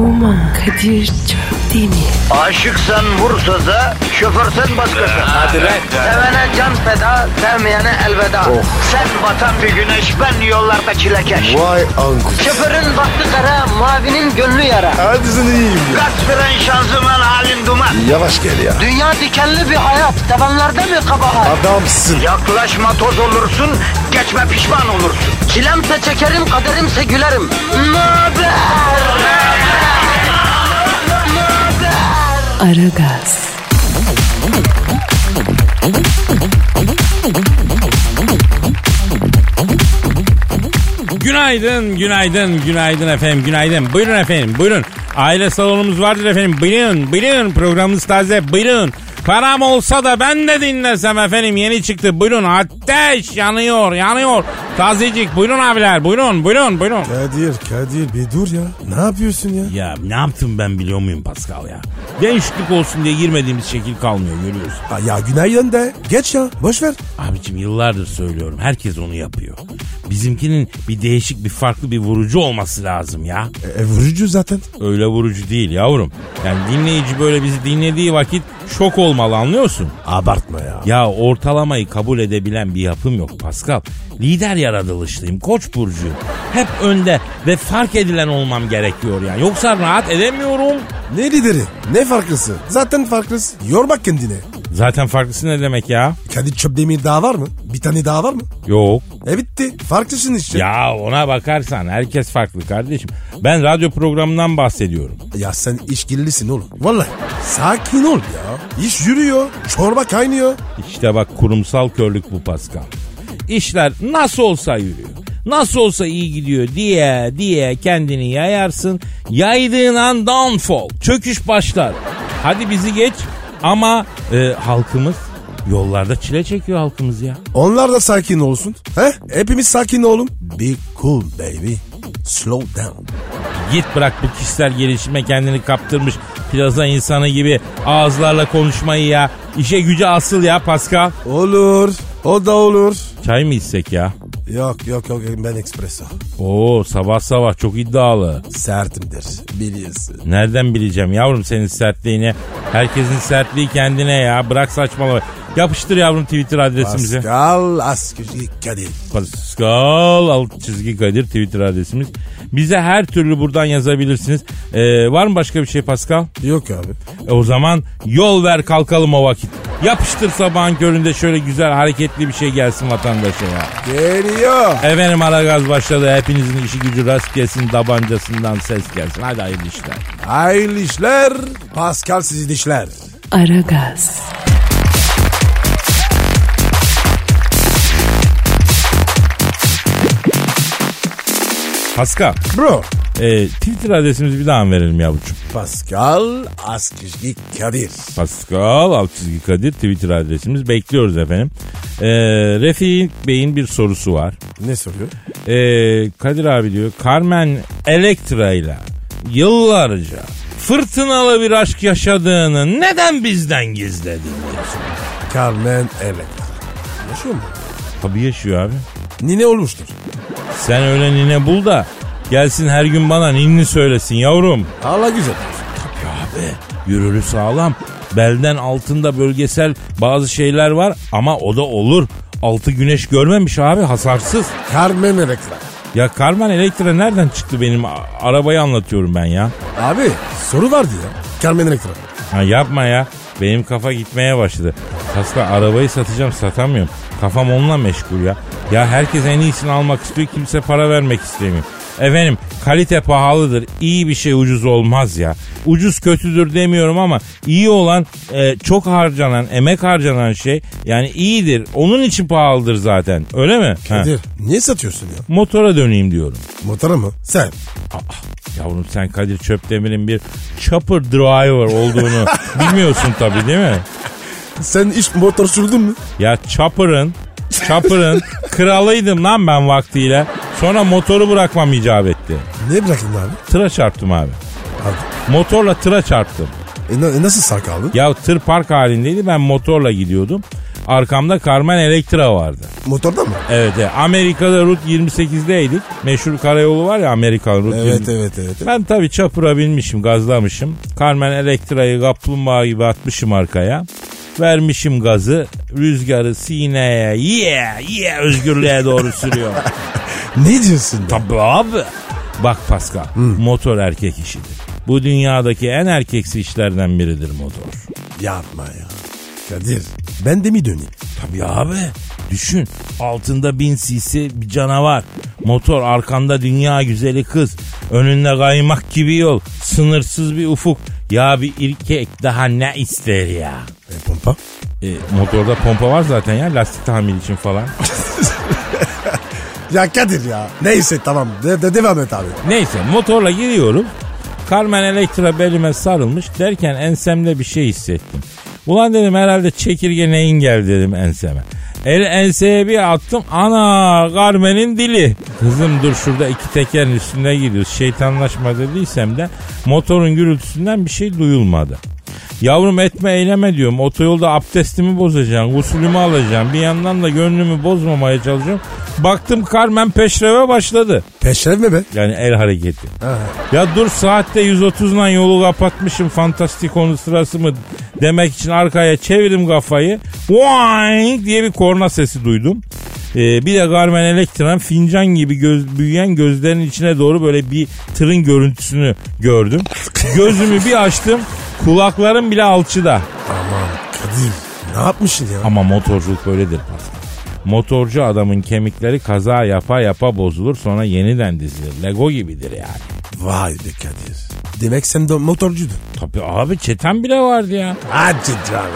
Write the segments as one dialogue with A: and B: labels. A: Kadir çok değil mi?
B: Aşıksan vursa da şoförsen başkasın. Hadi
C: lan.
B: Sevene can feda, sevmeyene elveda. Sen batan bir güneş, ben yollarda çilekeş.
D: Vay anku.
B: Şoförün baktı kara, mavinin gönlü yara.
D: Hadi sen iyiyim ya.
B: Kasperen şanzıman halin duman.
D: Yavaş gel ya.
B: Dünya dikenli bir hayat, sevenlerde mi kabahar?
D: Adamsın.
B: Yaklaşma toz olursun, geçme pişman olursun. Çilemse çekerim, kaderimse gülerim. Möber!
A: Aragaz,
C: Günaydın, günaydın, günaydın efendim, günaydın. Buyurun efendim, buyurun. Aile salonumuz vardır efendim. Buyurun, buyurun. Programımız taze, buyurun. Param olsa da ben de dinlesem efendim yeni çıktı. Buyurun ateş yanıyor, yanıyor. Tazecik buyurun abiler, buyurun, buyurun, buyurun.
D: Kadir, Kadir bir dur ya. Ne yapıyorsun ya?
C: Ya ne yaptım ben biliyor muyum Pascal ya? Gençlik olsun diye girmediğimiz şekil kalmıyor görüyorsun.
D: Aa, ya günaydın de. Geç ya. Boş ver.
C: Abicim yıllardır söylüyorum herkes onu yapıyor. Bizimkinin bir değişik bir farklı bir vurucu olması lazım ya.
D: E, e, vurucu zaten.
C: Öyle vurucu değil yavrum. Yani dinleyici böyle bizi dinlediği vakit şok olmalı anlıyorsun.
D: Abartma ya.
C: Ya ortalamayı kabul edebilen bir yapım yok Pascal. Lider yaratılışlıyım, koç burcuyum. Hep önde ve fark edilen olmam gerekiyor yani. Yoksa rahat edemiyorum.
D: Ne lideri? Ne farklısı? Zaten farklısı. Yormak kendine.
C: Zaten farklısı ne demek ya?
D: Kadir Çöpdemir daha var mı? Bir tane daha var mı?
C: Yok.
D: E bitti. Farklısın işte. Ya,
C: Ya ona bakarsan herkes farklı kardeşim. Ben radyo programından bahsediyorum.
D: sen işkillisin oğlum. Vallahi. Sakin ol ya. İş yürüyor. Çorba kaynıyor.
C: İşte bak kurumsal körlük bu Pascal. İşler nasıl olsa yürüyor. Nasıl olsa iyi gidiyor diye diye kendini yayarsın. Yaydığın an downfall, çöküş başlar. Hadi bizi geç ama e, halkımız yollarda çile çekiyor halkımız ya.
D: Onlar da sakin olsun. He? Hepimiz sakin oğlum. Be cool baby. Slow down.
C: Git bırak bu kişisel gelişime kendini kaptırmış plaza insanı gibi ağızlarla konuşmayı ya. İşe güce asıl ya Pascal.
D: Olur. O da olur.
C: Çay mı içsek ya?
D: Yok yok yok ben espresso.
C: Oo sabah sabah çok iddialı.
D: Sertimdir biliyorsun.
C: Nereden bileceğim yavrum senin sertliğini? Herkesin sertliği kendine ya. Bırak saçmalama. Yapıştır yavrum Twitter adresimize.
D: Pascal Askışki Kadir.
C: Pascal alt çizgi Kadir Twitter adresimiz. Bize her türlü buradan yazabilirsiniz. Ee, var mı başka bir şey Pascal?
D: Yok abi.
C: E, o zaman yol ver kalkalım o vakit. Yapıştır sabahın köründe şöyle güzel hareketli bir şey gelsin vatandaşa ya.
D: Geliyor.
C: Efendim Aragaz başladı. Hepinizin işi gücü rast gelsin. Dabancasından ses gelsin. Hadi hayırlı işler.
D: Hayırlı işler. Pascal sizi dişler.
A: Aragaz,
C: Pascal.
D: Bro.
C: E, Twitter adresimizi bir daha mı verelim yavrucuğum?
D: Pascal Askışki Kadir.
C: Pascal alt çizgi Kadir Twitter adresimiz. Bekliyoruz efendim. E, Refik Bey'in bir sorusu var.
D: Ne soruyor?
C: E, Kadir abi diyor Carmen Electra ile yıllarca fırtınalı bir aşk yaşadığını neden bizden gizledin? diyor.
D: Carmen Electra. Yaşıyor mu?
C: Tabii yaşıyor abi.
D: Nine olmuştur.
C: Sen öyle nine bul da gelsin her gün bana ninni söylesin yavrum.
D: Allah güzel.
C: Abi yürürü sağlam. Belden altında bölgesel bazı şeyler var ama o da olur. Altı güneş görmemiş abi hasarsız.
D: Carmen Electra.
C: Ya Karman Elektra nereden çıktı benim A- arabayı anlatıyorum ben ya.
D: Abi soru vardı ya. Carmen Electra.
C: Ha yapma ya. Benim kafa gitmeye başladı. Aslında arabayı satacağım satamıyorum. Kafam onunla meşgul ya. Ya herkes en iyisini almak istiyor kimse para vermek istemiyor. Efendim kalite pahalıdır. İyi bir şey ucuz olmaz ya. Ucuz kötüdür demiyorum ama iyi olan e, çok harcanan emek harcanan şey yani iyidir. Onun için pahalıdır zaten öyle mi? Ha.
D: Kadir niye satıyorsun ya?
C: Motora döneyim diyorum.
D: Motora mı? Sen.
C: Aa, yavrum sen Kadir Çöpdemir'in bir chopper driver olduğunu bilmiyorsun tabii değil mi?
D: Sen hiç motor sürdün mü?
C: Ya Chopper'ın Chopper'ın kralıydım lan ben vaktiyle. Sonra motoru bırakmam icap etti.
D: Ne bırakın abi?
C: Tıra çarptım abi.
D: Abi.
C: Motorla tıra çarptım.
D: E, na- e nasıl sağ kaldın?
C: Ya tır park halindeydi ben motorla gidiyordum. Arkamda Carmen Electra vardı.
D: Motorda mı?
C: Evet, evet. Amerika'da Route 28'deydik. Meşhur karayolu var ya Amerikan Route
D: Evet
C: 28.
D: evet evet.
C: Ben tabii çapura binmişim, gazlamışım. Carmen Electra'yı kaplumbağa gibi atmışım arkaya. Vermişim gazı, rüzgarı sineye, yeah, yeah özgürlüğe doğru sürüyor.
D: Ne diyorsun? be?
C: Tabii abi. Bak Pascal, motor erkek işidir. Bu dünyadaki en erkeksi işlerden biridir motor.
D: Yapma ya. Kadir ben de mi döneyim?
C: Tabii abi. Düşün. Altında bin cc bir canavar. Motor arkanda dünya güzeli kız. Önünde kaymak gibi yol. Sınırsız bir ufuk. Ya bir erkek daha ne ister ya?
D: E, pompa.
C: E, motorda pompa var zaten ya lastik tamir için falan.
D: Ya Kadir ya. Neyse tamam. De, de- devam et abi.
C: Neyse motorla giriyorum. Carmen Electra belime sarılmış derken ensemde bir şey hissettim. Ulan dedim herhalde çekirge neyin geldi dedim enseme. El enseye bir attım ana Carmen'in dili. Kızım dur şurada iki tekerin üstünde gidiyoruz. Şeytanlaşma dediysem de motorun gürültüsünden bir şey duyulmadı. Yavrum etme eyleme diyorum. Otoyolda abdestimi bozacağım, gusülümü alacağım. Bir yandan da gönlümü bozmamaya çalışıyorum. Baktım Carmen peşreve başladı.
D: Peşrev mi be?
C: Yani el hareketi.
D: Ha.
C: Ya dur saatte 130 lan yolu kapatmışım fantastik onun sırası mı demek için arkaya çevirdim kafayı. Boing diye bir korna sesi duydum. Ee, bir de Garmen Elektra'nın fincan gibi göz, büyüyen gözlerinin içine doğru böyle bir tırın görüntüsünü gördüm. Gözümü bir açtım kulaklarım bile alçıda.
D: Aman Kadir. Ne yapmışsın ya?
C: Ama motorculuk böyledir Pascal. Motorcu adamın kemikleri kaza yapa yapa bozulur sonra yeniden dizilir. Lego gibidir yani.
D: Vay be Kadir. Demek sen de motorcuydun.
C: Tabii abi çetem bile vardı ya.
D: Hadi canım.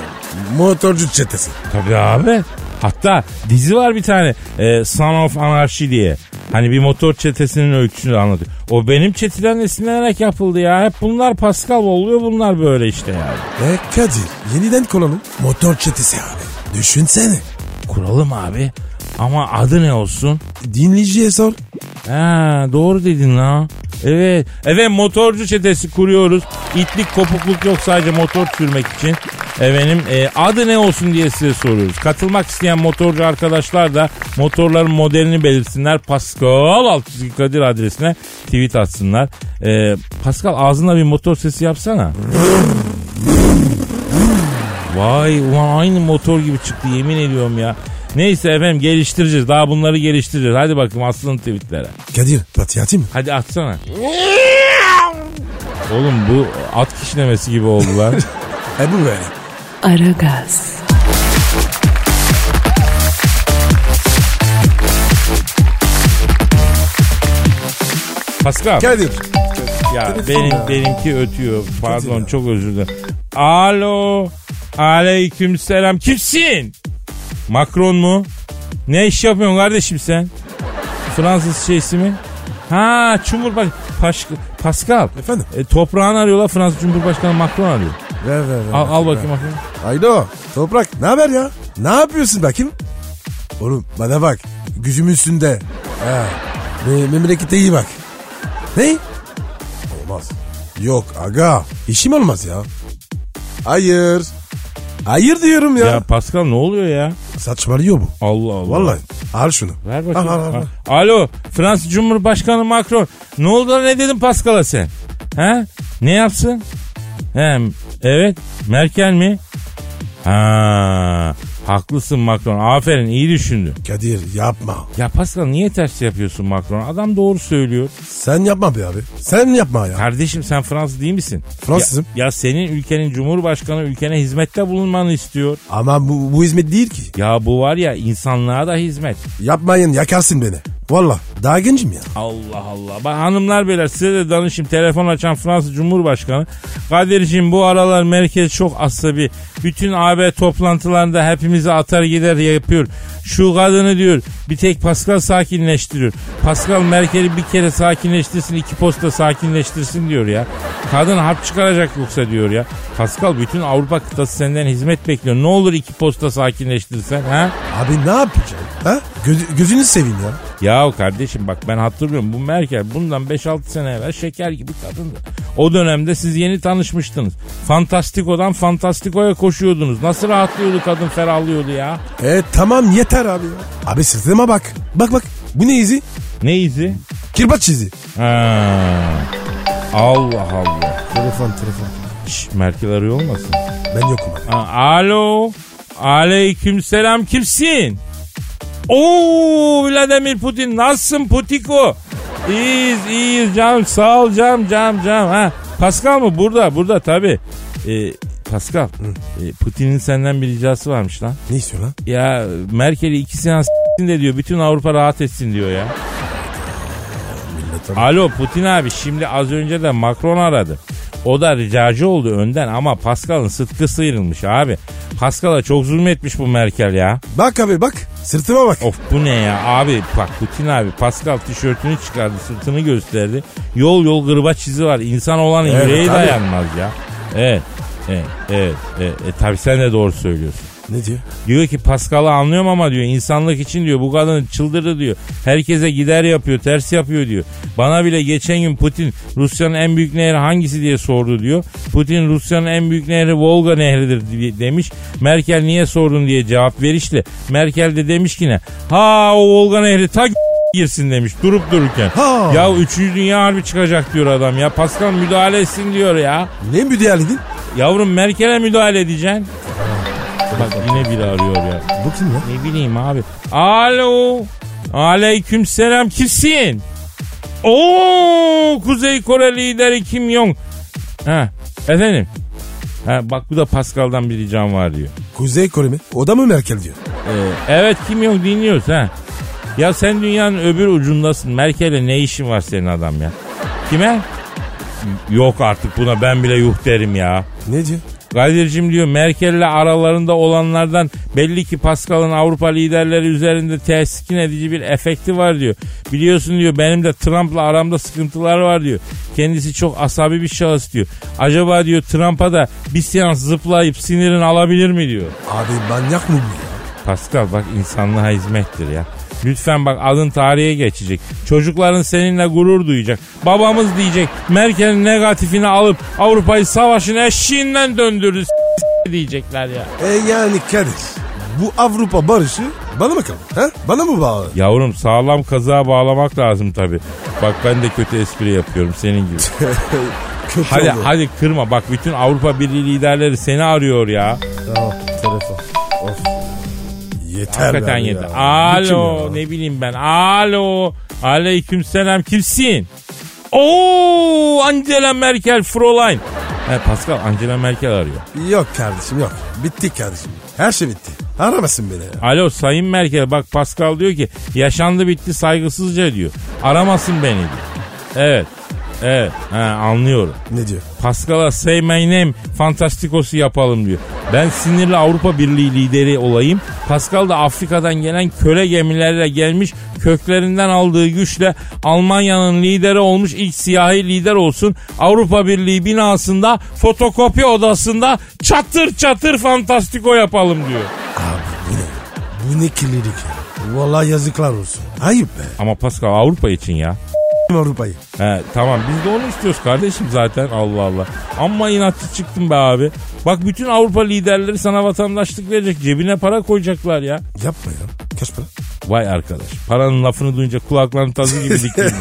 D: Motorcu çetesi.
C: Tabii abi. Hatta dizi var bir tane. E, Son of Anarchy diye. Hani bir motor çetesinin öyküsünü anlatıyor. O benim çeteden esinlenerek yapıldı ya. Hep bunlar Pascal oluyor bunlar böyle işte yani.
D: E Kadir yeniden kuralım. Motor çetesi abi. Düşünsene.
C: Kuralım abi. Ama adı ne olsun?
D: Dinleyiciye sor.
C: Ha, doğru dedin lan. Evet. Evet motorcu çetesi kuruyoruz. İtlik kopukluk yok sadece motor sürmek için. Efendim e, adı ne olsun diye size soruyoruz. Katılmak isteyen motorcu arkadaşlar da motorların modelini belirsinler. Pascal Altçizgi Kadir adresine tweet atsınlar. E, Pascal ağzına bir motor sesi yapsana. Vay ulan aynı motor gibi çıktı yemin ediyorum ya. Neyse efendim geliştireceğiz. Daha bunları geliştireceğiz. Hadi bakayım asılın tweetlere.
D: Kadir patiye atayım mı?
C: Hadi atsana. Oğlum bu at kişnemesi gibi oldu lan.
D: E bu böyle.
A: Aragaz,
C: Pascal.
D: Kadir.
C: ya
D: telefon
C: benim
D: ya.
C: benimki ötüyor. Pardon
D: ya.
C: çok özür dilerim. Alo. Aleyküm selam. Kimsin? Macron mu? Ne iş yapıyorsun kardeşim sen? Fransız şeysi mi? Ha Cumhurbaşkanı. Paşk- Pascal.
D: Efendim?
C: E, toprağını arıyorlar Fransız Cumhurbaşkanı Macron arıyor.
D: Ver ver ver.
C: Al, al bakayım bakayım.
D: Aydo. Toprak ne haber ya? Ne yapıyorsun bakayım? Oğlum bana bak. Gücümün üstünde. Ha. Me- memlekete iyi bak. Ne? Olmaz. Yok aga. İşim olmaz ya. Hayır. Hayır diyorum ya.
C: Ya Pascal ne oluyor ya?
D: Saçmalıyor bu.
C: Allah Allah.
D: Vallahi. Al şunu.
C: Ver bakayım.
D: Al, al, al, al.
C: Ha. Alo Fransız Cumhurbaşkanı Macron. Ne oldu da ne dedin Pascal'a sen? He? Ne yapsın? Hem evet Merkel mi? Ha, haklısın Macron. Aferin iyi düşündün.
D: Kadir yapma.
C: Ya Pascal niye ters yapıyorsun Macron? Adam doğru söylüyor.
D: Sen yapma be abi. Sen yapma ya.
C: Kardeşim sen Fransız değil misin?
D: Fransızım.
C: Ya, ya senin ülkenin Cumhurbaşkanı ülkene hizmette bulunmanı istiyor.
D: Ama bu, bu hizmet değil ki.
C: Ya bu var ya insanlığa da hizmet.
D: Yapmayın yakarsın beni. Valla daha gencim ya.
C: Allah Allah. Bak hanımlar beyler size de danışayım. Telefon açan Fransız Cumhurbaşkanı. Kadir'cim bu aralar merkez çok asabi. Bütün AB toplantılarında hepimizi atar gider yapıyor. Şu kadını diyor bir tek Pascal sakinleştiriyor. Pascal Merkel'i bir kere sakinleştirsin iki posta sakinleştirsin diyor ya. Kadın harp çıkaracak yoksa diyor ya. Pascal bütün Avrupa kıtası senden hizmet bekliyor. Ne olur iki posta sakinleştirsen ha?
D: Abi ne yapacaksın? Ha? Göz- gözünü seveyim ya.
C: Ya kardeşim bak ben hatırlıyorum bu Merkel bundan 5-6 sene evvel şeker gibi kadındı. O dönemde siz yeni tanışmıştınız. Fantastiko'dan Fantastiko'ya koşuyordunuz. Nasıl rahatlıyordu kadın ferahlıyordu ya.
D: E tamam yeter abi ya. Abi sırtıma bak. Bak bak. Bu ne izi?
C: Ne izi?
D: Kirbaç izi.
C: Ha. Allah Allah.
D: Telefon telefon.
C: Şş, Merkel arıyor olmasın?
D: Ben yokum abi.
C: Ha, alo. Aleykümselam kimsin? Oo Vladimir Putin nasılsın Putiko? İyiyiz iyiyiz canım sağ ol canım canım canım. Ha, Pascal mı? Burada burada tabi. Pascal e, Putin'in senden bir ricası varmış lan.
D: Ne istiyor lan?
C: Ya Merkel'i iki seans s**tin de diyor bütün Avrupa rahat etsin diyor ya. Alo Putin abi şimdi az önce de Macron aradı. O da ricacı oldu önden ama Pascal'ın sıtkı sıyrılmış abi. Pascal'a çok zulmetmiş bu Merkel ya.
D: Bak abi bak. Sırtıma bak.
C: Of bu ne ya abi bak Putin abi Pascal tişörtünü çıkardı sırtını gösterdi. Yol yol gırbaç izi var insan olan
D: Evet,
C: yüreği
D: tabii.
C: dayanmaz ya. Evet evet evet, evet. E, tabii sen de doğru söylüyorsun.
D: Ne diyor?
C: Diyor ki Pascal'ı anlıyorum ama diyor insanlık için diyor bu kadın çıldırdı diyor. Herkese gider yapıyor ters yapıyor diyor. Bana bile geçen gün Putin Rusya'nın en büyük nehri hangisi diye sordu diyor. Putin Rusya'nın en büyük nehri Volga nehridir diye- demiş. Merkel niye sordun diye cevap verişli. Merkel de demiş ki ne? Ha o Volga nehri ta girsin demiş durup dururken.
D: Ha.
C: Ya 3. Dünya Harbi çıkacak diyor adam ya. Pascal müdahale etsin diyor ya.
D: Ne müdahaledin?
C: Yavrum Merkel'e müdahale edeceksin. Bak yine biri arıyor ya.
D: Bu kim lan?
C: Ne bileyim abi. Alo. Aleyküm selam. Kimsin? Oo, Kuzey Kore lideri Kim Jong. Ha, efendim. Ha, bak bu da Pascal'dan bir ricam var diyor.
D: Kuzey Kore mi? O da mı Merkel diyor?
C: Ee, evet Kim Jong dinliyoruz ha. Ya sen dünyanın öbür ucundasın. Merkel'e ne işin var senin adam ya? Kime? Yok artık buna ben bile yuh derim ya.
D: Ne diyor?
C: Kadir'cim diyor Merkel'le aralarında olanlardan belli ki Pascal'ın Avrupa liderleri üzerinde teskin edici bir efekti var diyor. Biliyorsun diyor benim de Trump'la aramda sıkıntılar var diyor. Kendisi çok asabi bir şahıs diyor. Acaba diyor Trump'a da bir seans zıplayıp sinirini alabilir mi diyor.
D: Abi manyak mı bu ya?
C: Pascal bak insanlığa hizmettir ya. Lütfen bak adın tarihe geçecek. Çocukların seninle gurur duyacak. Babamız diyecek Merkel'in negatifini alıp Avrupa'yı savaşın eşiğinden döndürdü s- diyecekler ya.
D: E yani Kadir. Bu Avrupa barışı bana mı kaldı? Ha? Bana mı bağlı?
C: Yavrum sağlam kazığa bağlamak lazım tabi. Bak ben de kötü espri yapıyorum senin gibi.
D: Kötü
C: hadi
D: oldu.
C: hadi kırma bak bütün Avrupa Birliği liderleri seni arıyor ya.
D: Tamam telefon. Of. Yeter
C: Hakikaten
D: be abi
C: yeter.
D: ya. Bu kim
C: Alo
D: ya?
C: ne bileyim ben. Alo. Aleyküm selam kimsin? Oo Angela Merkel Fräulein. He Pascal Angela Merkel arıyor.
D: Yok kardeşim yok. Bitti kardeşim. Her şey bitti. Aramasın beni ya.
C: Alo Sayın Merkel bak Pascal diyor ki yaşandı bitti saygısızca diyor. Aramasın beni diyor. Evet. Evet he, anlıyorum.
D: Ne diyor?
C: Pascal'a say my name fantastikosu yapalım diyor. Ben sinirli Avrupa Birliği lideri olayım. Pascal da Afrika'dan gelen köle gemilerle gelmiş köklerinden aldığı güçle Almanya'nın lideri olmuş ilk siyahi lider olsun. Avrupa Birliği binasında fotokopi odasında çatır çatır fantastiko yapalım diyor.
D: Abi bu ne? Bu ne kirlilik ya? Vallahi yazıklar olsun. Ayıp be.
C: Ama Pascal Avrupa için ya.
D: Avrupa'yı.
C: He, tamam biz de onu istiyoruz kardeşim zaten Allah Allah. Ama inatçı çıktın be abi. Bak bütün Avrupa liderleri sana vatandaşlık verecek cebine para koyacaklar ya.
D: Yapma ya. Kaç para?
C: Vay arkadaş paranın lafını duyunca kulakların tazı gibi dikildi.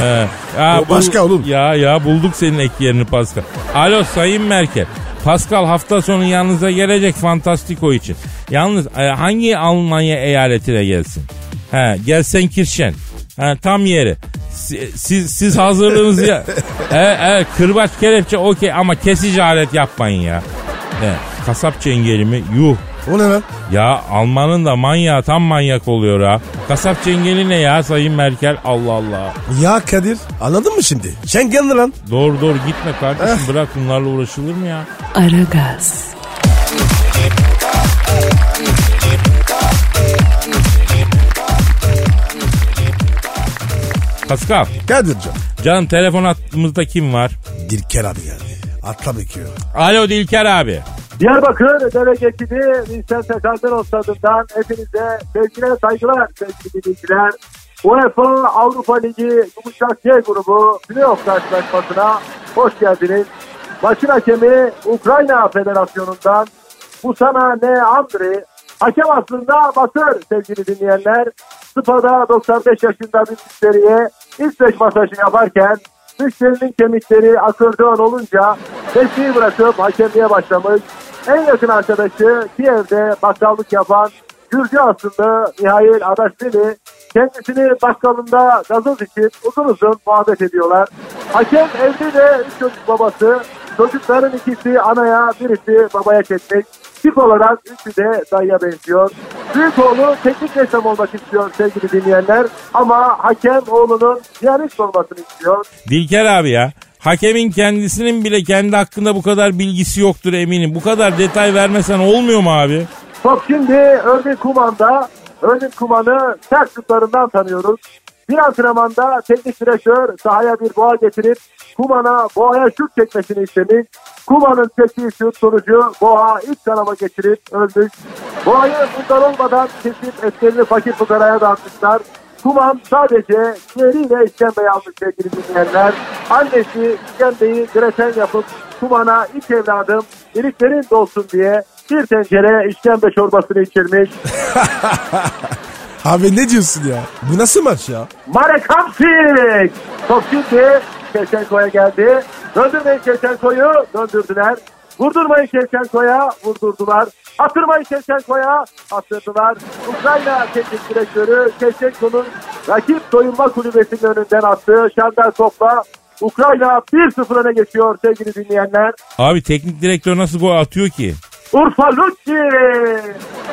C: He, ya
D: O başka oğlum.
C: Ya ya bulduk senin ek yerini Pascal. Alo Sayın Merkel. Pascal hafta sonu yanınıza gelecek Fantastiko için. Yalnız e, hangi Almanya eyaletine gelsin? He, gelsen Kirşen. He, tam yeri. Si- Siz, siz hazırlığınızı ya. E, e, kırbaç kelepçe okey ama kesici alet yapmayın ya. He, kasap çengeli mi? Yuh.
D: O ne lan?
C: Ya Alman'ın da manyağı tam manyak oluyor ha. Kasap çengeli ne ya Sayın Merkel? Allah Allah.
D: Ya Kadir anladın mı şimdi? Schengen'li lan.
C: Doğru doğru gitme kardeşim bırak bunlarla uğraşılır mı ya?
A: Aragaz,
C: Pascal
D: Kadir'cim.
C: canım telefon hattımızda kim var?
D: Dilker abi geldi. Atla bekliyor.
C: Alo Dilker abi.
E: Diyarbakır Delegesi'ni Vincent Sekanderos tadından hepinize sevgiler, saygılar sevgili dinleyiciler. UEFA Avrupa Ligi Yumuşak Y grubu playoff karşılaşmasına hoş geldiniz. Maçın hakemi Ukrayna Federasyonu'ndan Musana Ne Andri. Hakem aslında Batır sevgili dinleyenler. Spada 95 yaşında bir müşteriye ilk beş masajı yaparken müşterinin kemikleri akırdığı olunca mesleği bırakıp hakemliğe başlamış. En yakın arkadaşı Kiev'de bakkallık yapan Gürcü aslında Mihail Adaşvili kendisini bakkalında gazoz için uzun uzun muhabbet ediyorlar. Hakem evli de üç çocuk babası. Çocukların ikisi anaya, birisi babaya çekmek. Tip olarak üçü de dayıya benziyor. Büyük oğlu teknik ressam olmak istiyor sevgili dinleyenler. Ama hakem oğlunun piyanist olmasını istiyor.
C: Dilker abi ya. Hakemin kendisinin bile kendi hakkında bu kadar bilgisi yoktur eminim. Bu kadar detay vermesen olmuyor mu abi?
E: Bak şimdi Örgün Kuman'da Örgün Kuman'ı sert şutlarından tanıyoruz. Bir antrenmanda teknik direktör sahaya bir boğa getirip Kuman'a boğaya şut çekmesini istemiş. Kuman'ın çektiği şut sonucu boğa iç kanama geçirip ölmüş. Boğayı bundan olmadan kesip etlerini fakir fukaraya dağıtmışlar. Kuman sadece ciğeriyle işkembe yapmış sevgili dinleyenler. Annesi işkembeyi gresen yapıp Kuman'a ilk evladım iliklerin dolsun diye bir tencere işkembe çorbasını içirmiş.
D: Abi ne diyorsun ya? Bu nasıl maç ya?
E: Marek Hamsik! Top şimdi Şevçenko'ya geldi. Döndürmeyin Şevçenko'yu döndürdüler. Vurdurmayın Şevçenko'ya vurdurdular. Attırmayın Şevçenko'ya attırdılar. Ukrayna teknik direktörü Şevçenko'nun rakip soyunma kulübesinin önünden attığı şandar topla Ukrayna 1-0 öne geçiyor sevgili dinleyenler.
C: Abi teknik direktör nasıl gol atıyor ki?
E: Urfa Lutfi.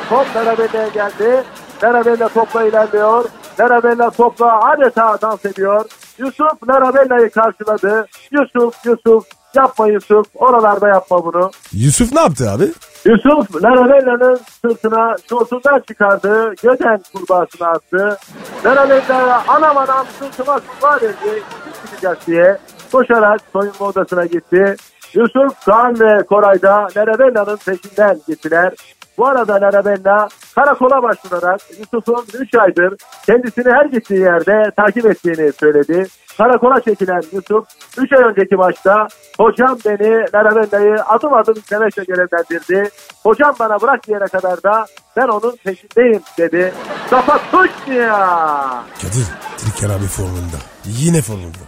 E: Top Darabella'ya geldi. Darabella topla ilerliyor. Darabella topla adeta dans ediyor. Yusuf Darabella'yı karşıladı. Yusuf, Yusuf. Yapma Yusuf. Oralarda yapma bunu.
D: Yusuf ne yaptı abi?
E: Yusuf Larabella'nın sırtına şortundan çıkardığı göden kurbağasını attı. Larabella anam anam sırtıma kurbağa dedi. kim çıkacak diye koşarak soyunma odasına gitti. Yusuf, Kaan ve Koray da Larabella'nın peşinden gittiler. Bu arada Larabella karakola başvurarak Yusuf'un 3 aydır kendisini her gittiği yerde takip ettiğini söyledi. Karakola çekilen Yusuf 3 ay önceki maçta hocam beni Larabella'yı adım adım izlemekle görevlendirdi. Hocam bana bırak diyene kadar da ben onun peşindeyim dedi. Kafa tuş ya.
D: Kadir, Trikar abi formunda. Yine formunda.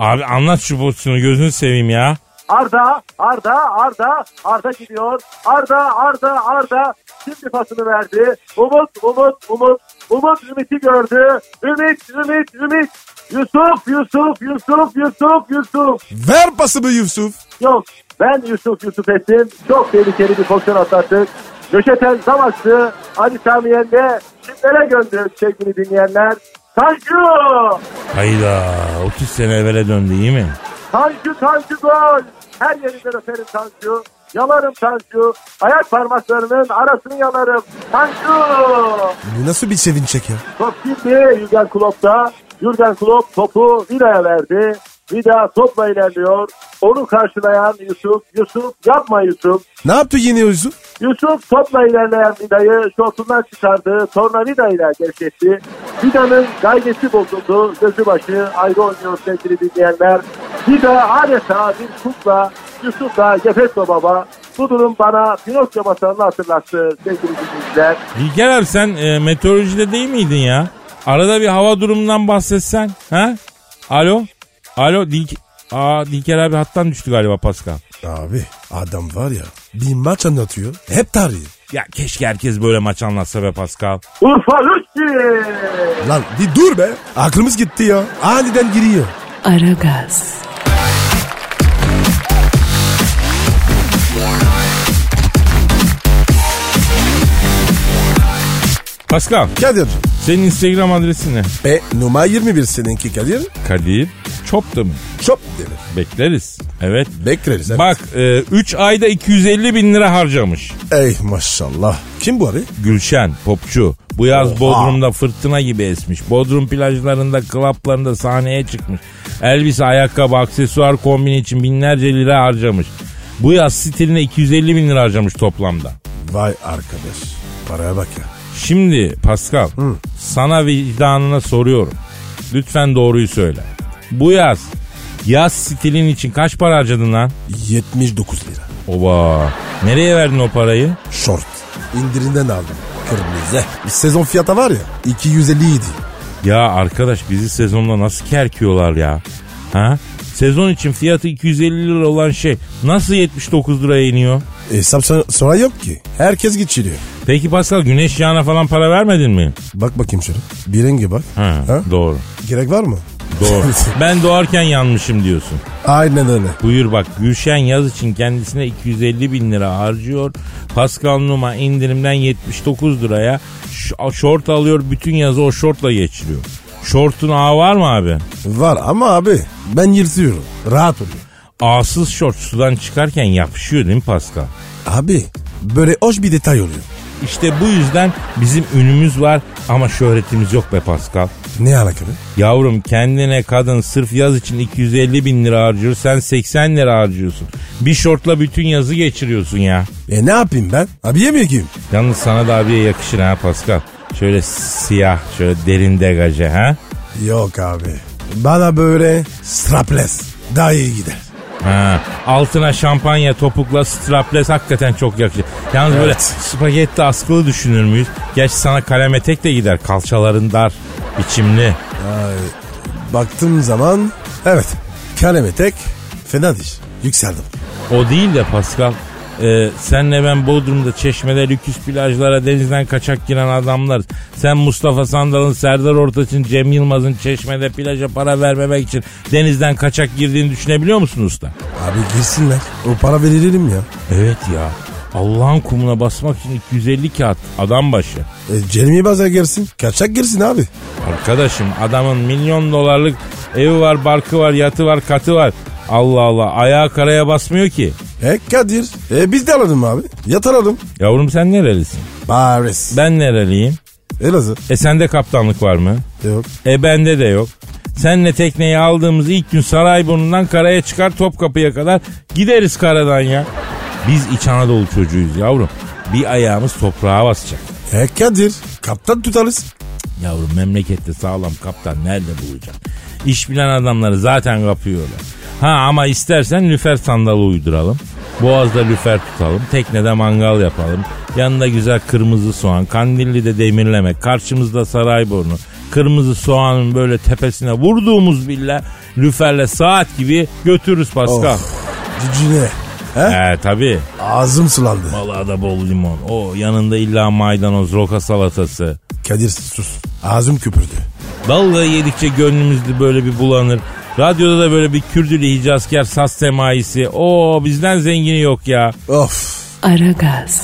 C: Abi anlat şu pozisyonu gözünü seveyim ya.
E: Arda, Arda, Arda, Arda gidiyor. Arda, Arda, Arda. Şimdi pasını verdi. Umut, Umut, Umut. Umut Ümit'i gördü. Ümit, Ümit, Ümit. Yusuf, Yusuf, Yusuf, Yusuf, Yusuf.
D: Ver pası be Yusuf.
E: Yok ben Yusuf Yusuf ettim. Çok tehlikeli bir pozisyon atlattık. Göçeten Zavaş'tı. Ali Samiyen'de şimdilere gönderdi sevgili dinleyenler. Tanju!
C: Hayda 30 sene evvele döndü iyi mi?
E: Tanju Tanju gol. Her yerinde öperim Tanju. Yalarım Tanju. Ayak parmaklarının arasını yalarım. Tanju.
D: Bu nasıl bir sevinçek ya?
E: Top şimdi Jürgen Klopp'ta. Jürgen Klopp topu Vida'ya verdi. Vida topla ilerliyor. Onu karşılayan Yusuf. Yusuf yapma Yusuf.
D: Ne yaptı yine Yusuf?
E: Yusuf topla ilerleyen Vida'yı şortundan çıkardığı tornavida ile gevşetti. Vida'nın gayesi bozuldu. Gözü başı ayrı oynuyor sevgili dinleyenler. Vida adeta bir kukla. Yusuf da Gepetto baba. Bu durum bana Pinokyo masalını hatırlattı sevgili dinleyiciler.
C: Dilker abi sen e, meteorolojide değil miydin ya? Arada bir hava durumundan bahsetsen. Ha? Alo? Alo Dilk Aa Dilker abi hattan düştü galiba Pascal.
D: Abi adam var ya bir maç anlatıyor. Hep tarihi.
C: Ya keşke herkes böyle maç anlatsa be Pascal.
E: Urfa Lütfi!
D: Lan bir dur be. Aklımız gitti ya. Aniden giriyor.
A: Aragaz,
C: Pascal
D: Kadir.
C: senin Instagram adresin ne?
D: E numara 21 seninki Kadir.
C: Kadir Çop'ta mı?
D: Çok denir.
C: Bekleriz. Evet.
D: Bekleriz. evet.
C: Bak 3 ayda 250 bin lira harcamış.
D: Ey maşallah. Kim bu abi?
C: Gülşen, popçu. Bu yaz
D: Oha.
C: Bodrum'da fırtına gibi esmiş. Bodrum plajlarında, klaplarında sahneye çıkmış. Elbise, ayakkabı, aksesuar kombini için binlerce lira harcamış. Bu yaz stiline 250 bin lira harcamış toplamda.
D: Vay arkadaş. Paraya bak ya.
C: Şimdi Pascal sana vicdanına soruyorum. Lütfen doğruyu söyle. Bu yaz yaz stilin için kaç para harcadın lan?
D: 79 lira.
C: Oba nereye verdin o parayı?
D: Short. İndirinden aldım. Kırmızı. Sezon fiyata var ya 250 idi.
C: Ya arkadaş bizi sezonda nasıl kerkiyorlar ya? Ha? Sezon için fiyatı 250 lira olan şey nasıl 79 liraya iniyor?
D: Hesap sor- soran yok ki. Herkes geçiriyor.
C: Peki Pascal güneş yağına falan para vermedin mi?
D: Bak bakayım şöyle. Bir rengi bak.
C: Ha,
D: Ha?
C: Doğru.
D: Gerek var mı?
C: Doğru. ben doğarken yanmışım diyorsun.
D: Aynen öyle.
C: Buyur bak Gülşen yaz için kendisine 250 bin lira harcıyor. Pascal Numa indirimden 79 liraya ş- şort alıyor. Bütün yazı o şortla geçiriyor. Şortun ağı var mı abi?
D: Var ama abi ben yırtıyorum. Rahat oluyor.
C: Ağsız şort sudan çıkarken yapışıyor değil mi Pascal?
D: Abi böyle hoş bir detay oluyor.
C: İşte bu yüzden bizim ünümüz var ama şöhretimiz yok be Pascal.
D: Ne alakalı?
C: Yavrum kendine kadın sırf yaz için 250 bin lira harcıyor. Sen 80 lira harcıyorsun. Bir şortla bütün yazı geçiriyorsun ya.
D: E ne yapayım ben? Abi yemiyor ki.
C: Yalnız sana da abiye yakışır ha Pascal. Şöyle siyah, şöyle derin degaje ha.
D: Yok abi. Bana böyle strapless daha iyi gider.
C: Ha, altına şampanya topukla strapless hakikaten çok yakışır. Yalnız böyle
D: Evet.
C: spagetti askılı düşünür müyüz? Gerçi sana kalem etek de gider. Kalçaların dar, biçimli.
D: Baktığım zaman evet kaleme tek fena diş. Yükseldim.
C: O değil de Pascal. Ee, senle ben Bodrum'da çeşmede lüküs plajlara denizden kaçak giren adamlar. Sen Mustafa Sandal'ın, Serdar Ortaç'ın, Cem Yılmaz'ın çeşmede plaja para vermemek için denizden kaçak girdiğini düşünebiliyor musun usta?
D: Abi girsinler. O para verelim ya.
C: Evet ya. Allah'ın kumuna basmak için 250 kağıt adam başı.
D: E, Jeremy Bazar girsin. Kaçak girsin abi.
C: Arkadaşım adamın milyon dolarlık evi var, barkı var, yatı var, katı var. Allah Allah ayağı karaya basmıyor ki.
D: E Kadir. E biz de alalım abi. Yat alalım.
C: Yavrum sen nerelisin?
D: Paris.
C: Ben nereliyim?
D: Elazığ.
C: E sende kaptanlık var mı?
D: Yok.
C: E bende de yok. Senle tekneyi aldığımız ilk gün Sarayburnu'ndan karaya çıkar Topkapı'ya kadar gideriz karadan ya. Biz İç Anadolu çocuğuyuz yavrum. Bir ayağımız toprağa basacak.
D: E Kadir. Kaptan tutarız.
C: Yavrum memlekette sağlam kaptan nerede bulacak? İş bilen adamları zaten kapıyorlar. Ha ama istersen lüfer sandalı uyduralım. Boğazda lüfer tutalım. Teknede mangal yapalım. Yanında güzel kırmızı soğan. Kandilli de demirleme. Karşımızda Sarayburnu. Kırmızı soğanın böyle tepesine vurduğumuz bile lüferle saat gibi götürürüz Pascal.
D: Oh. Cücüne. He?
C: He tabii.
D: Ağzım sulandı.
C: Vallahi da bol limon. O yanında illa maydanoz, roka salatası.
D: Kadir sus. Ağzım küpürdü.
C: Vallahi yedikçe gönlümüzde böyle bir bulanır. Radyoda da böyle bir Kürdülü Hicazkar saz semaisi. Oo bizden zengini yok ya.
D: Of.
A: Aragaz,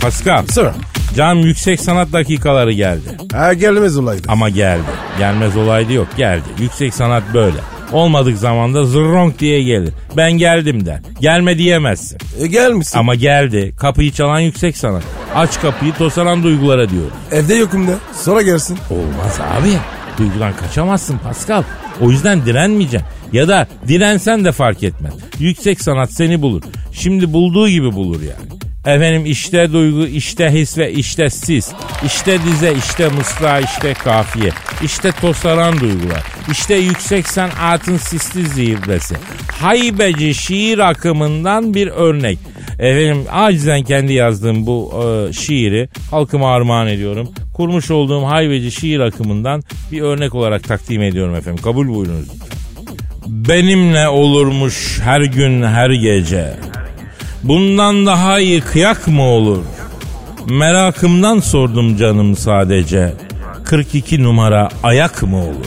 C: Pascal.
D: Sıra.
C: Can yüksek sanat dakikaları geldi.
D: Ha gelmez olaydı.
C: Ama geldi. Gelmez olaydı yok geldi. Yüksek sanat böyle. Olmadık zamanda zırronk diye gelir. Ben geldim der. Gelme diyemezsin.
D: E, gelmişsin.
C: Ama geldi. Kapıyı çalan yüksek sanat. Aç kapıyı tosaran duygulara diyor.
D: Evde yokum de. Sonra gelsin.
C: Olmaz abi. Duygudan kaçamazsın Pascal. O yüzden direnmeyeceksin. Ya da dirensen de fark etmez. Yüksek sanat seni bulur. Şimdi bulduğu gibi bulur yani. Efendim işte duygu, işte his ve işte siz. İşte dize, işte mısra, işte kafiye. İşte tosaran duygular. İşte yüksek sanatın sisli zirvesi. Haybeci şiir akımından bir örnek. Efendim acizen kendi yazdığım bu e, şiiri halkıma armağan ediyorum. Kurmuş olduğum hayveci şiir akımından bir örnek olarak takdim ediyorum efendim. Kabul buyurunuz. Benimle olurmuş her gün her gece. Bundan daha iyi kıyak mı olur? Merakımdan sordum canım sadece. 42 numara ayak mı olur?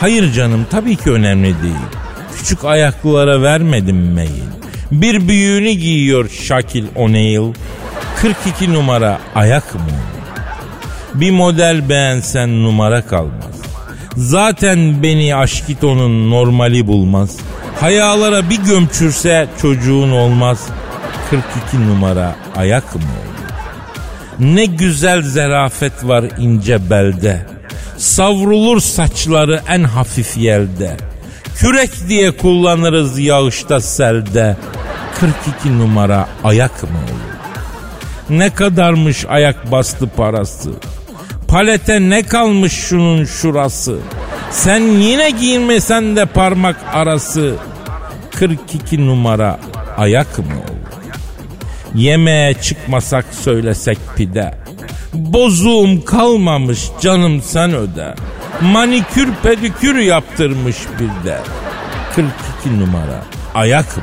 C: Hayır canım tabii ki önemli değil. Küçük ayaklılara vermedim meyil. Bir büyüğünü giyiyor Şakil O'Neil. 42 numara ayak mı? Bir model beğensen numara kalmaz. Zaten beni aşkitonun normali bulmaz. Hayalara bir gömçürse çocuğun olmaz. 42 numara ayak mı olur? Ne güzel zerafet var ince belde. Savrulur saçları en hafif yelde. Kürek diye kullanırız yağışta selde. 42 numara ayak mı olur? Ne kadarmış ayak bastı parası? Palete ne kalmış şunun şurası? Sen yine giyinmesen de parmak arası. 42 numara ayak mı olur? Yemeğe çıkmasak söylesek pide. Bozuğum kalmamış canım sen öde. Manikür pedikür yaptırmış bir de. 42 numara ayak mı?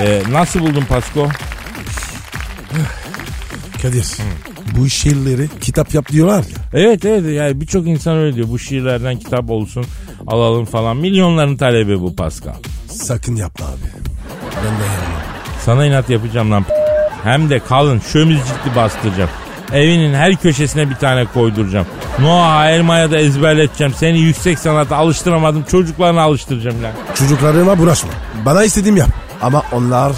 C: Ee, nasıl buldun Pasko?
D: Kadir bu şiirleri kitap yap diyorlar ya.
C: Evet evet yani birçok insan öyle diyor. Bu şiirlerden kitap olsun alalım falan. Milyonların talebi bu Pascal.
D: Sakın yapma abi. Ben de yapmam.
C: Sana inat yapacağım lan. Hem de kalın şömizcikli bastıracağım. Evinin her köşesine bir tane koyduracağım. Noah Elma'ya da ezberleteceğim. Seni yüksek sanata alıştıramadım. Çocuklarına alıştıracağım lan.
D: Çocuklarıma bulaşma. Bana istediğim yap. Ama onlar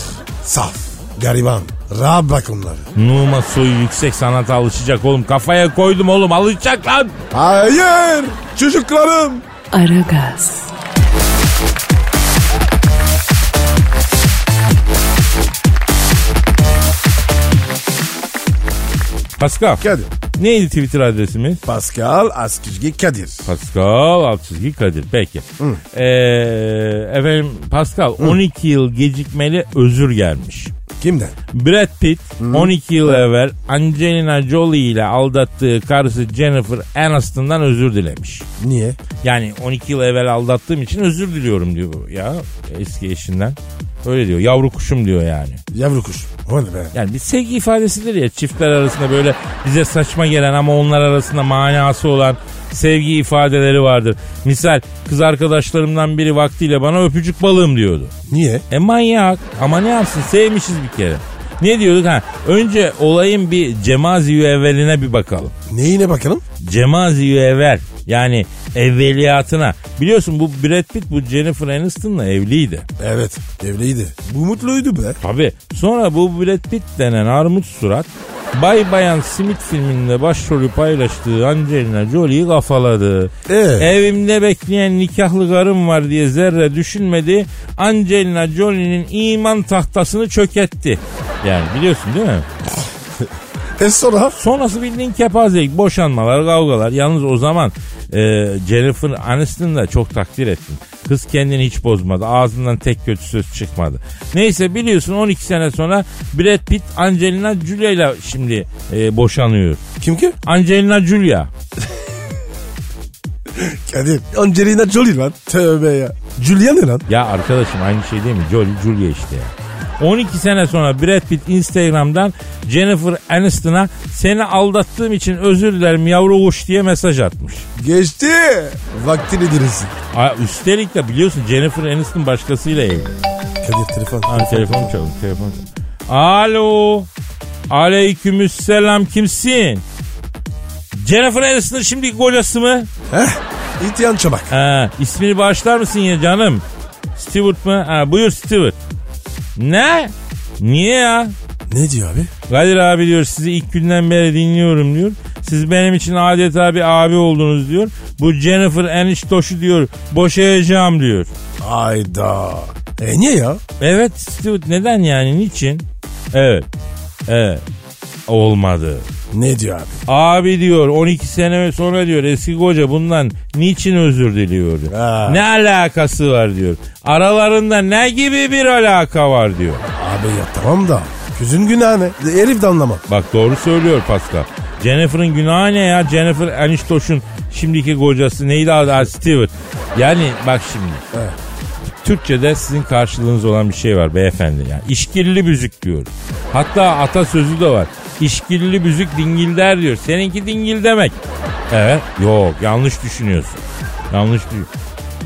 D: saf, gariban. Rahat bırak onları.
C: Numa soyu yüksek sanata alışacak oğlum. Kafaya koydum oğlum alışacak lan.
D: Hayır çocuklarım.
A: Aragaz,
C: Pascal.
D: Kadir.
C: Neydi Twitter adresimiz?
D: Pascal Askizgi Kadir.
C: Pascal alt çizgi Kadir. Peki. Ee, efendim Pascal 12 yıl gecikmeli özür gelmiş.
D: Kimden?
C: Brad Pitt 12 yıl evvel Angelina Jolie ile aldattığı karısı Jennifer Aniston'dan özür dilemiş.
D: Niye?
C: Yani 12 yıl evvel aldattığım için özür diliyorum diyor bu ya eski eşinden. Öyle diyor yavru kuşum diyor yani.
D: Yavru kuş. O ne be?
C: Yani bir sevgi ifadesidir ya çiftler arasında böyle bize saçma gelen ama onlar arasında manası olan sevgi ifadeleri vardır. Misal kız arkadaşlarımdan biri vaktiyle bana öpücük balığım diyordu.
D: Niye?
C: E manyak ama ne yapsın sevmişiz bir kere. Ne diyorduk ha? Önce olayın bir cemazi evveline bir bakalım.
D: Neyine bakalım?
C: Cemazi evvel yani evveliyatına. Biliyorsun bu Brad Pitt bu Jennifer Aniston'la evliydi.
D: Evet evliydi. Bu mutluydu be.
C: Tabi. Sonra bu Brad Pitt denen armut surat Bay Bayan Smith filminde başrolü paylaştığı Angelina Jolie'yi kafaladı.
D: Ee?
C: Evimde bekleyen nikahlı karım var diye zerre düşünmedi. Angelina Jolie'nin iman tahtasını çöketti. Yani biliyorsun değil mi?
D: E sonra?
C: Sonrası bildiğin kepazelik, boşanmalar, kavgalar. Yalnız o zaman e, Jennifer Aniston'u da çok takdir ettim. Kız kendini hiç bozmadı. Ağzından tek kötü söz çıkmadı. Neyse biliyorsun 12 sene sonra Brad Pitt Angelina Jolie ile şimdi e, boşanıyor.
D: Kim ki?
C: Angelina Julia.
D: Kadir. Angelina Jolie lan. Tövbe ya. Julia ne lan?
C: Ya arkadaşım aynı şey değil mi? Jolie Julia işte ya. 12 sene sonra Brad Pitt Instagram'dan Jennifer Aniston'a seni aldattığım için özür dilerim yavru kuş diye mesaj atmış.
D: Geçti. Vaktini dirilsin.
C: Aa, üstelik de biliyorsun Jennifer Aniston başkasıyla evli.
D: Kadir telefon.
C: Ha, telefon çalın, telefon çalın. Alo. Aleykümselam kimsin? Jennifer Aniston şimdi kocası mı?
D: Heh. İtiyan çabak.
C: Ha, ismini bağışlar mısın ya canım? Stewart mı? Ha, buyur Stewart. Ne? Niye ya?
D: Ne diyor abi?
C: Kadir abi diyor sizi ilk günden beri dinliyorum diyor. Siz benim için adeta bir abi oldunuz diyor. Bu Jennifer Aniston'u diyor boşayacağım diyor.
D: Ayda. E niye ya?
C: Evet Stewart neden yani niçin? Evet. Evet. Olmadı.
D: Ne diyor abi?
C: Abi diyor 12 sene sonra diyor eski koca bundan niçin özür diliyor. diyor.
D: Ha.
C: Ne alakası var diyor. Aralarında ne gibi bir alaka var diyor.
D: Abi ya tamam da. Kızın günahı ne? E, Herif de anlamam.
C: Bak doğru söylüyor Pascal. Jennifer'ın günahı ne ya? Jennifer Aniston'un şimdiki kocası neydi adı? Ha, Stewart. Yani bak şimdi.
D: Evet.
C: Türkçe'de sizin karşılığınız olan bir şey var beyefendi. Yani işkilli büzük diyor. Hatta atasözü de var. İşkilli büzük dingilder diyor. Seninki dingil demek. Evet. Yok yanlış düşünüyorsun. Yanlış düşün.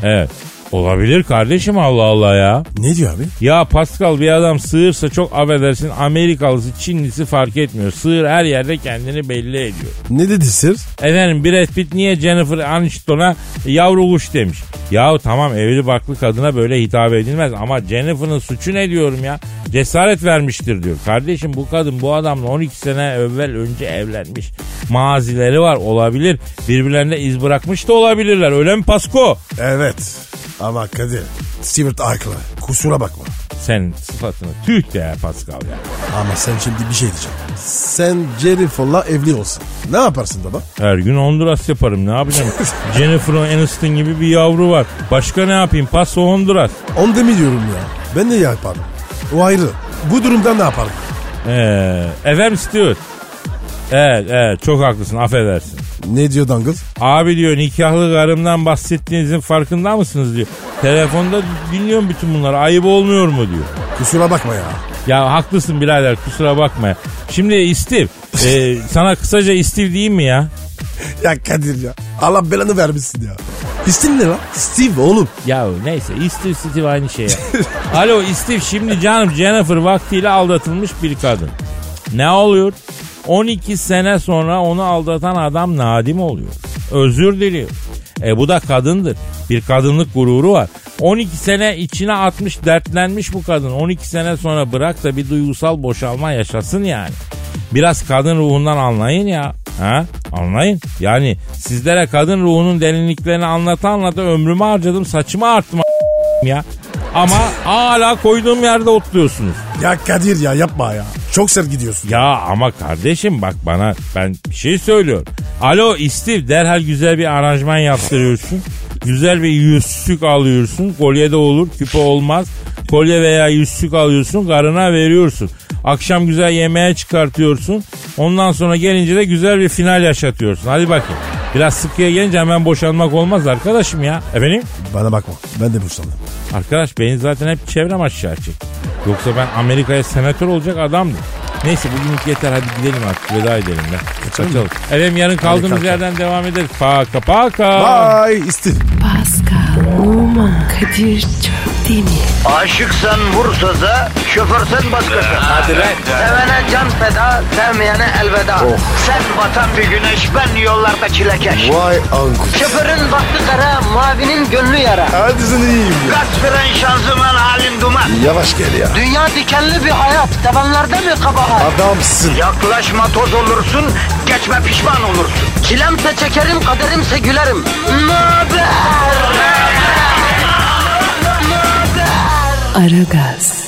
C: Evet. Olabilir kardeşim Allah Allah ya.
D: Ne diyor abi?
C: Ya Pascal bir adam sığırsa çok affedersin Amerikalısı Çinlisi fark etmiyor. Sığır her yerde kendini belli ediyor.
D: Ne dedi sır?
C: Efendim Brad Pitt niye Jennifer Aniston'a yavru kuş demiş. Yahu tamam evli barklı kadına böyle hitap edilmez ama Jennifer'ın suçu ne diyorum ya. Cesaret vermiştir diyor. Kardeşim bu kadın bu adamla 12 sene evvel önce evlenmiş. Mazileri var olabilir. Birbirlerine iz bırakmış da olabilirler öyle mi Pasko?
D: Evet. Ama Kadir. Stewart haklı. Kusura bakma.
C: Sen sıfatını tüh de ya Pascal ya.
D: Ama sen şimdi bir şey diyeceğim. Sen Jennifer'la evli olsun. Ne yaparsın baba?
C: Her gün Honduras yaparım ne yapacağım? Jennifer Aniston gibi bir yavru var. Başka ne yapayım? Paso Honduras.
D: Onu demiyorum ya. Ben ne yaparım? O ayrı. Bu durumda ne yaparım?
C: Ee, efendim Stewart. Evet evet çok haklısın affedersin.
D: Ne diyor Dangle?
C: Abi diyor nikahlı karımdan bahsettiğinizin farkında mısınız diyor. Telefonda dinliyorum bütün bunları ayıp olmuyor mu diyor.
D: Kusura bakma ya.
C: Ya haklısın birader kusura bakma. Şimdi istif. Ee, sana kısaca istif diyeyim mi ya?
D: Ya Kadir ya. Allah belanı vermişsin ya. İstin ne lan? Steve oğlum.
C: Ya neyse istif istif aynı şey ya. Alo istif şimdi canım Jennifer vaktiyle aldatılmış bir kadın. Ne oluyor? 12 sene sonra onu aldatan adam nadim oluyor. Özür diliyor. E bu da kadındır. Bir kadınlık gururu var. 12 sene içine atmış dertlenmiş bu kadın. 12 sene sonra bırak da bir duygusal boşalma yaşasın yani. Biraz kadın ruhundan anlayın ya. Ha? Anlayın. Yani sizlere kadın ruhunun derinliklerini anlata anlata ömrümü harcadım saçımı arttım a- ya. Ama hala koyduğum yerde otluyorsunuz.
D: Ya Kadir ya yapma ya. Çok sert gidiyorsun.
C: Ya ama kardeşim bak bana ben bir şey söylüyorum. Alo istif derhal güzel bir aranjman yaptırıyorsun. Güzel bir yüzsük alıyorsun. Kolye de olur küpe olmaz. Kolye veya yüzsük alıyorsun karına veriyorsun. Akşam güzel yemeğe çıkartıyorsun. Ondan sonra gelince de güzel bir final yaşatıyorsun. Hadi bakayım. Biraz sıkıya gelince hemen boşanmak olmaz arkadaşım ya. Efendim?
D: Bana bakma. Ben de boşandım.
C: Arkadaş beni zaten hep çevrem aşağı çek. Yoksa ben Amerika'ya senatör olacak adamdım. Neyse bugünlük yeter hadi gidelim artık veda edelim be. Kaçalım. Efendim yarın kaldığımız
D: kalkalım.
C: yerden devam ederiz. Paka paka.
D: Bye Steve.
A: Pascal, Oman, Kadir çok değil mi?
B: Aşıksan vursa da, şoförsen başkasın. Hadi
F: lan.
B: Sevene can feda, sevmeyene elveda. Sen batan bir güneş, ben yollarda çilekeş.
D: Vay anku.
B: Şoförün baktı kara, mavinin gönlü yara.
D: Hadi sen iyiyim ya.
B: Kasperen şanzıman halin duman.
D: Yavaş gel ya.
B: Dünya dikenli bir hayat, sevenlerde mi kabahar?
D: Adamsın.
B: Yaklaşma toz olursun, geçme pişman olursun. Çilemse çekerim, kaderimse gülerim. Möber!
A: Aragaz.